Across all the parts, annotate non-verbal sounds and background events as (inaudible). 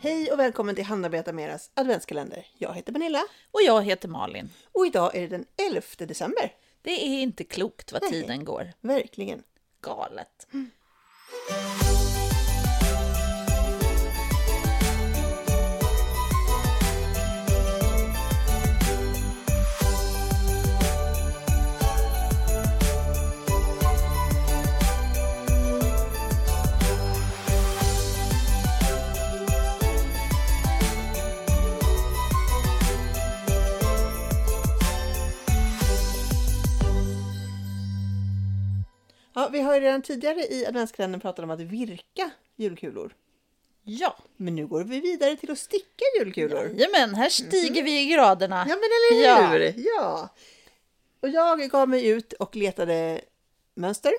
Hej och välkommen till Hanna Berättar Meras adventskalender. Jag heter Pernilla Och jag heter Malin. och idag är det den 11 december. Det är inte klokt vad tiden går. Verkligen. Galet. Mm. Ja, vi har ju redan tidigare i adventskalendern pratat om att virka julkulor. Ja, Men nu går vi vidare till att sticka julkulor. men här stiger vi i graderna. Ja, men eller Ja. hur! Ja. Och jag gav mig ut och letade mönster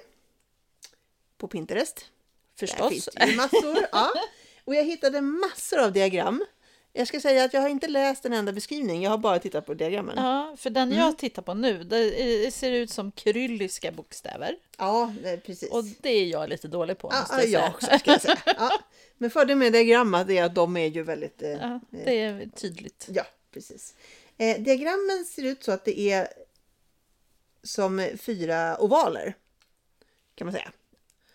på Pinterest. Där Förstås. finns det ju (laughs) massor. ja. Och jag hittade massor av diagram. Jag ska säga att jag har inte läst en enda beskrivning. Jag har bara tittat på diagrammen. Ja, för den Mm. jag tittar på nu, det är- ser ut som kyrilliska bokstäver. Ja, det- precis. Och det är jag lite dålig på, ja, måste ja, jag jag säga. också, ska jag säga. (laughs) Ja. Men fördelen med diagram är att de är ju väldigt... eh, Ja, det är tydligt. Ja, precis. Eh, diagrammen ser ut så att det är som fyra ovaler. Kan man säga.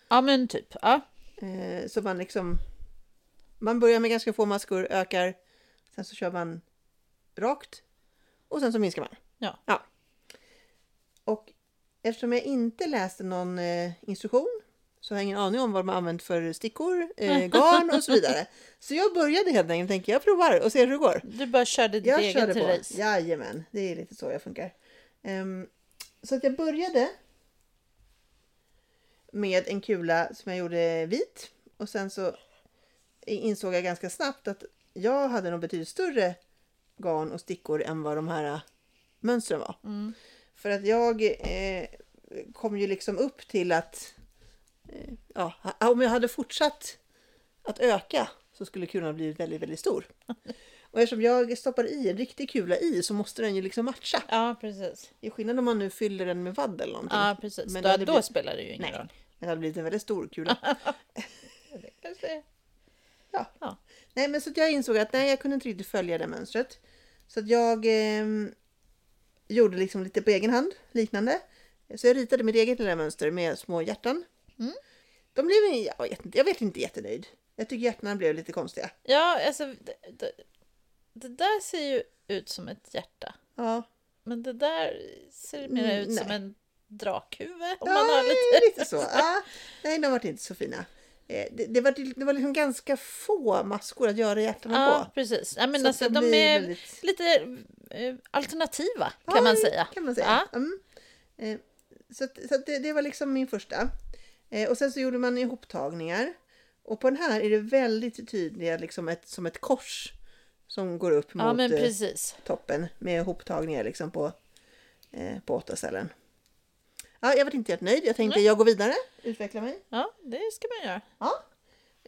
Ja, men typ. Ja. Eh, så man liksom... Man börjar med ganska få maskor, ökar. Sen så kör man rakt. Och sen så minskar man. Ja. ja. Och eftersom jag inte läste någon eh, instruktion så har jag ingen aning om vad de har använt för stickor, eh, garn och så vidare. Så jag började helt enkelt tänka jag provar och ser hur det går. Du bara körde ditt Jag eget körde på. race. Jajamän, det är lite så jag funkar. Ehm, så att jag började med en kula som jag gjorde vit och sen så insåg jag ganska snabbt att jag hade nog betydligt större garn och stickor än vad de här äh, mönstren var. För att jag eh, kom ju liksom upp till att eh, ja, ha- om jag hade fortsatt att öka så skulle kulan blivit väldigt, väldigt stor. Och eftersom jag stoppar i en riktig kula i så måste den ju liksom matcha. Ja, precis. Det är skillnad om man nu fyller den med vadd eller någonting. Ja, precis. Men Men det då, hade då blivit- spelar det ju ingen Nej, roll. men det hade blivit en väldigt stor kula. Kanske. Ja. Ja. Nej, men så att jag insåg att nej, jag kunde inte riktigt följa det mönstret. Så att jag ehm, gjorde liksom lite på egen hand, liknande. Så jag ritade mitt eget lilla mönster med små hjärtan. Mm. De blev, jag vet, inte, jag vet inte jättenöjd. Jag tycker hjärtan blev lite konstiga. Ja, alltså det, det, det där ser ju ut som ett hjärta. Ja, Men det där ser mer Mm, ut som nej. en drakhuvud. Om Ja, man har (laughs) lite... lite så. Ja. Nej, de var inte så fina. Eh, Det, det, var, det var liksom ganska få maskor att göra hjärtana Ja, på. precis. Ja, men Så alltså, att det de blir är väldigt- lite eh, alternativa kan Ja, man säga. kan man säga. Mm. Eh, Så, att, så att det, det var liksom min första. Eh, Och sen så gjorde man ihoptagningar. Och på den här är det väldigt tydliga, liksom ett, som ett kors som går upp mot Ja, men eh, precis. toppen med ihoptagningar liksom på, eh, på åtta ställen. Ja, jag var inte helt nöjd. Jag tänkte jag går vidare, utvecklar mig. Ja, det ska man göra. Ja.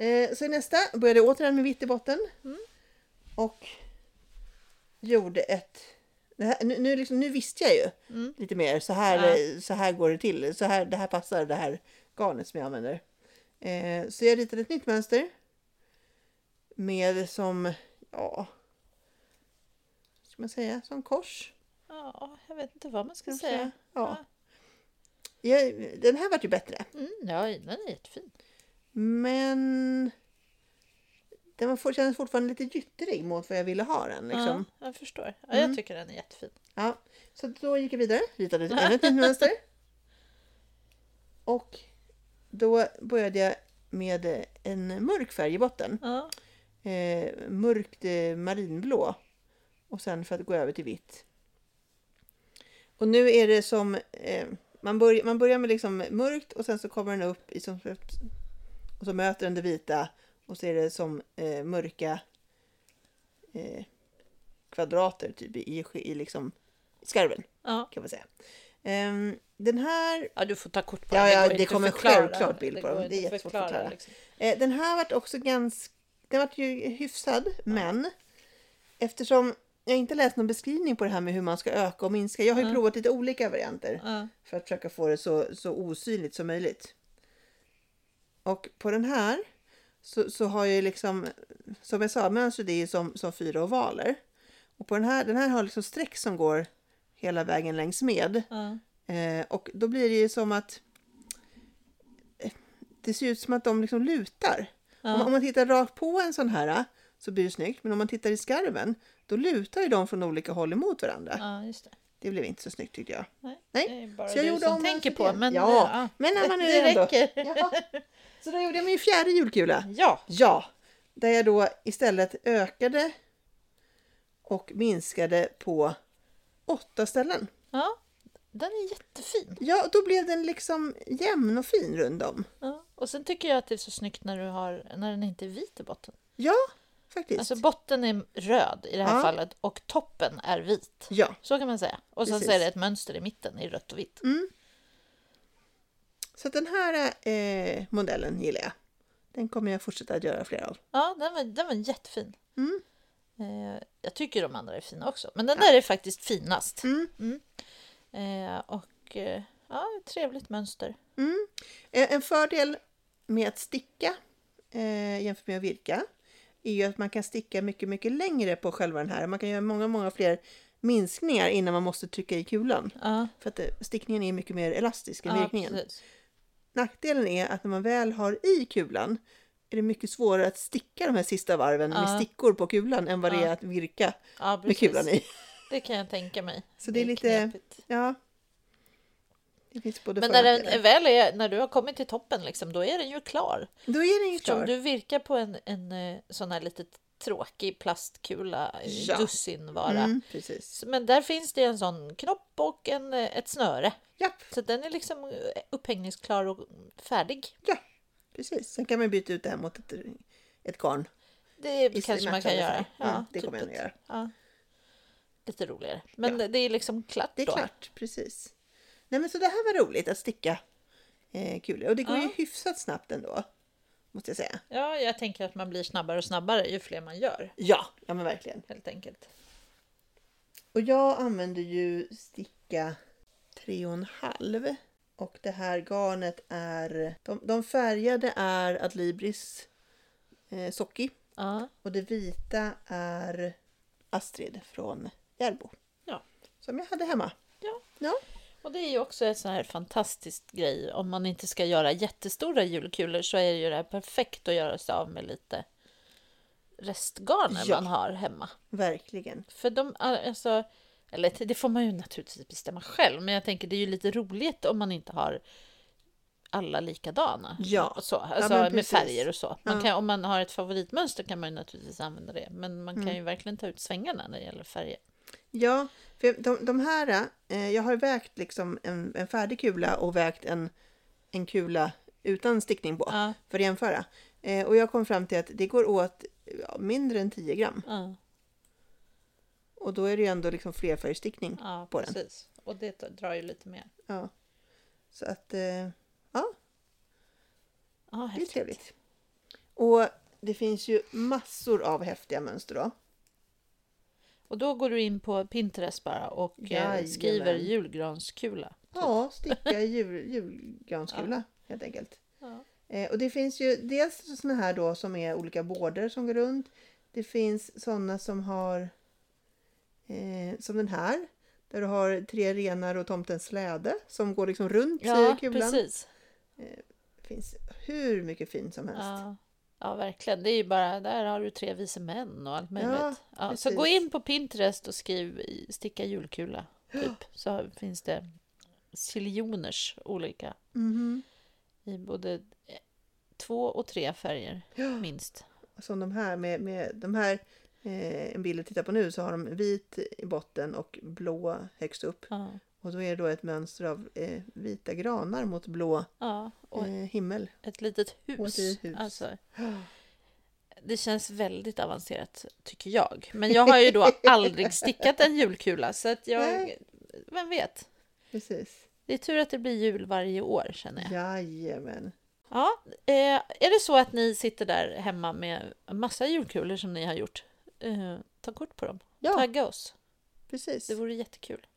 Eh, så i nästa började jag återigen med vitt i botten. Mm. Och gjorde ett... Det här, nu, nu, liksom, nu visste jag ju lite mer. Så här, Mm. Ja. eh, så här går det till. Så här, det här passar det här garnet som jag använder. Eh, så jag ritade ett nytt mönster. Med som... Ja... vad Ska man säga? Som kors. Ja, jag vet inte vad man ska kanske? säga. Ja. Jag, den här vart ju bättre. Mm, ja, den är jättefin. Men den var for, kändes fortfarande lite gyttrig mot vad jag ville ha den. Liksom. Mm. Ja, jag förstår. Ja, jag tycker den är jättefin. Ja. Så då gick jag vidare, ritade ett- ännu ett nytt mönster. Och då började jag med eh, en mörk färg i botten. Ja, Eh, mörkt eh, marinblå. Och sen för att gå över till vitt. Och nu är det som... Eh, man, börj- man börjar med liksom mörkt och sen så kommer den upp i som, och så möter den det vita. Och så är det som eh, mörka eh, kvadrater typ i, i liksom skarven ja. kan man säga. Ehm, den här ja du får ta kort på Ja, den. ja, går det inte att kommer förklara. självklart bild på går dem. Det inte är att jättesvårt att förklara. Liksom. Eh, Den här vart också ganska... Den vart ju hyfsad, men eftersom jag inte läst någon beskrivning på det här med hur man ska öka och minska. Jag har ju provat lite olika varianter Ja. för att försöka få det så, så osynligt som möjligt. Och på den här så, så har jag ju liksom, som jag sa, mönstret är ju som, som fyra ovaler. Och på den här, den här har liksom streck som går hela vägen längs med. Ja. Eh, och då blir det ju som att eh, det ser ut som att de liksom lutar. Om, om man tittar rakt på en sån här eh, så blir det snyggt, men om man tittar i skarven då lutar ju de från olika håll emot varandra. ja, just det. Det blev inte så snyggt tyckte jag. Nej, Nej, det är bara så jag du gjorde som om tänker mönstret på. igen. Men, eh, Ja, ja. men när man nu det ändå... räcker. (laughs) Ja. Så då gjorde jag min fjärde julkula. Ja, Ja, där jag då istället ökade och minskade på åtta ställen. ja. Den är jättefin. Ja, då blev den liksom jämn och fin runt om. Ja. Och sen tycker jag att det är så snyggt när, du har, när den inte är vit i botten. Ja, faktiskt. Alltså botten är röd i det här Ja. fallet och toppen är vit. Ja, Så kan man säga. Och sen så Precis. är det ett mönster i mitten i rött och vitt. Mm. så att den här eh, modellen gillar jag. Den kommer jag fortsätta att göra fler av. Ja, den var, den var jättefin. Mm. Eh, jag tycker de andra är fina också. Men den där är faktiskt finast. Mm. Eh, och eh, ja, ett trevligt mönster. Mm. Eh, En fördel med att sticka eh, jämfört med att virka är ju att man kan sticka mycket, mycket längre på själva den här. Man kan göra många, många fler minskningar innan man måste trycka i kulan. Ja, För att eh, stickningen är mycket mer elastisk än ja, virkningen. precis. Nackdelen är att när man väl har i kulan är det mycket svårare att sticka de här sista varven med Ja. stickor på kulan än vad det Ja. är att virka Ja, med kulan precis. i. Det kan jag tänka mig. Så det är lite knepigt. Ja. Det finns både Men för och när den nackdelar. är väl är, när du har kommit till toppen liksom, då är den ju klar. Då är den ju Eftersom klar. du virkar på en, en eh, sån här lite tråkig plastkula, eh, Ja. dussinvara. Mm, precis. Så- Men där finns det en sån knopp och en, eh, ett snöre. Japp. Så den är liksom eh, upphängningsklar och färdig. Precis, sen kan man byta ut det här mot ett, ett garn. Det i kanske man kan matchande göra. färg. Ja, Mm, det kommer jag typ nog ett- göra. Ja. Lite roligare. Men det- det är liksom klart Det är då. klart, precis. Nej men så det här var roligt att sticka eh, kulor. Och det går ju Ja. hyfsat snabbt ändå. Måste jag säga. Ja, jag tänker att man blir snabbare och snabbare ju fler man gör. Ja, ja men verkligen. Helt enkelt. Och jag använder ju sticka 3,5. Och det här garnet är... De, de färgade är Adlibris eh, Socki. Ja. Och det vita är Astrid från Järbo. Ja. Som jag hade hemma. Ja. Ja. Och det är ju också en sån här fantastisk grej. Om man inte ska göra jättestora julkulor så är det ju det här perfekt att göra sig av med lite restgarner Ja. man har hemma. Verkligen. För de, alltså, eller det får man ju naturligtvis bestämma själv, men jag tänker det är ju lite roligt om man inte har alla likadana. Ja. Och så, alltså men med precis. färger och så. Man Ja. kan, om man har ett favoritmönster kan man ju naturligtvis använda det, men man Mm. kan ju verkligen ta ut svängarna när det gäller färger. Ja, för de, de här, eh, jag har vägt liksom en, en färdig kula och vägt en, en kula utan stickning på Ja, för att jämföra. Eh, och jag kom fram till att det går åt ja, mindre än 10 gram. ja, Och då är det ju ändå liksom flerfärgstickning. ja På den. precis. Och det drar ju lite mer. Ja. Så att, eh, ja, Ja, det är häftigt. trevligt. Och det finns ju massor av häftiga mönster Typ. då. Och då går du in på Pinterest bara och eh, skriver Jajamän. julgranskula. Ja, sticka i jul, julgranskula helt enkelt. Ja. Eh, och det finns ju dels såna här då som är olika bårder som går runt. Det finns såna som har eh, som den här. Där du har tre renar och tomtens släde som går liksom runt i Ja, kulan. precis. Det finns hur mycket fint som helst. Ja. ja, verkligen. Det är ju bara, där har du tre vise män och allt möjligt. Ja, så precis. gå in på Pinterest och skriv i- sticka julkula, (gasps) typ. Så finns det siljoners olika Mhm. i både eh, två och tre färger, Ja. minst. Som de här med, med de här eh, en bild jag tittar på nu så har de vit i botten och blå högst upp. Ja, Och då är det då ett mönster av eh, vita granar mot blå ja. eh, och himmel. ett litet Och hus. ett litet hus. Alltså, (gasps) det känns väldigt avancerat, tycker jag. Men jag har (laughs) ju då aldrig stickat en julkula, så att jag... Nej. Vem vet? Precis. Det är tur att det blir jul varje år, känner jag. Jajamän. Ja, eh, är det så att ni sitter där hemma med en massa julkulor som ni har gjort, eh, ta kort på dem. Ja. Tagga oss. Precis. Det vore jättekul.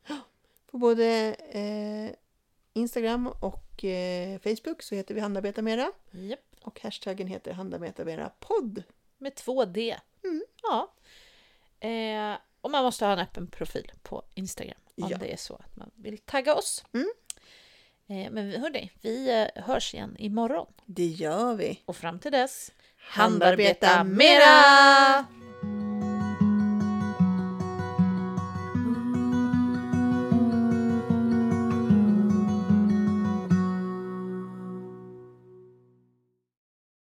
På både eh, Instagram och eh, Facebook så heter vi Handarbeta Mera. Japp. Och hashtaggen heter Handla med Äta Mera podd. Med 2D. Mm. Ja. Eh, och man måste ha en öppen profil på Instagram om Ja. det är så att man vill tagga oss. Mm. Eh, men vi- hörni, vi eh, hörs igen imorgon. Det gör vi. Och fram till dess, Handarbeta handarbeta mera! mera!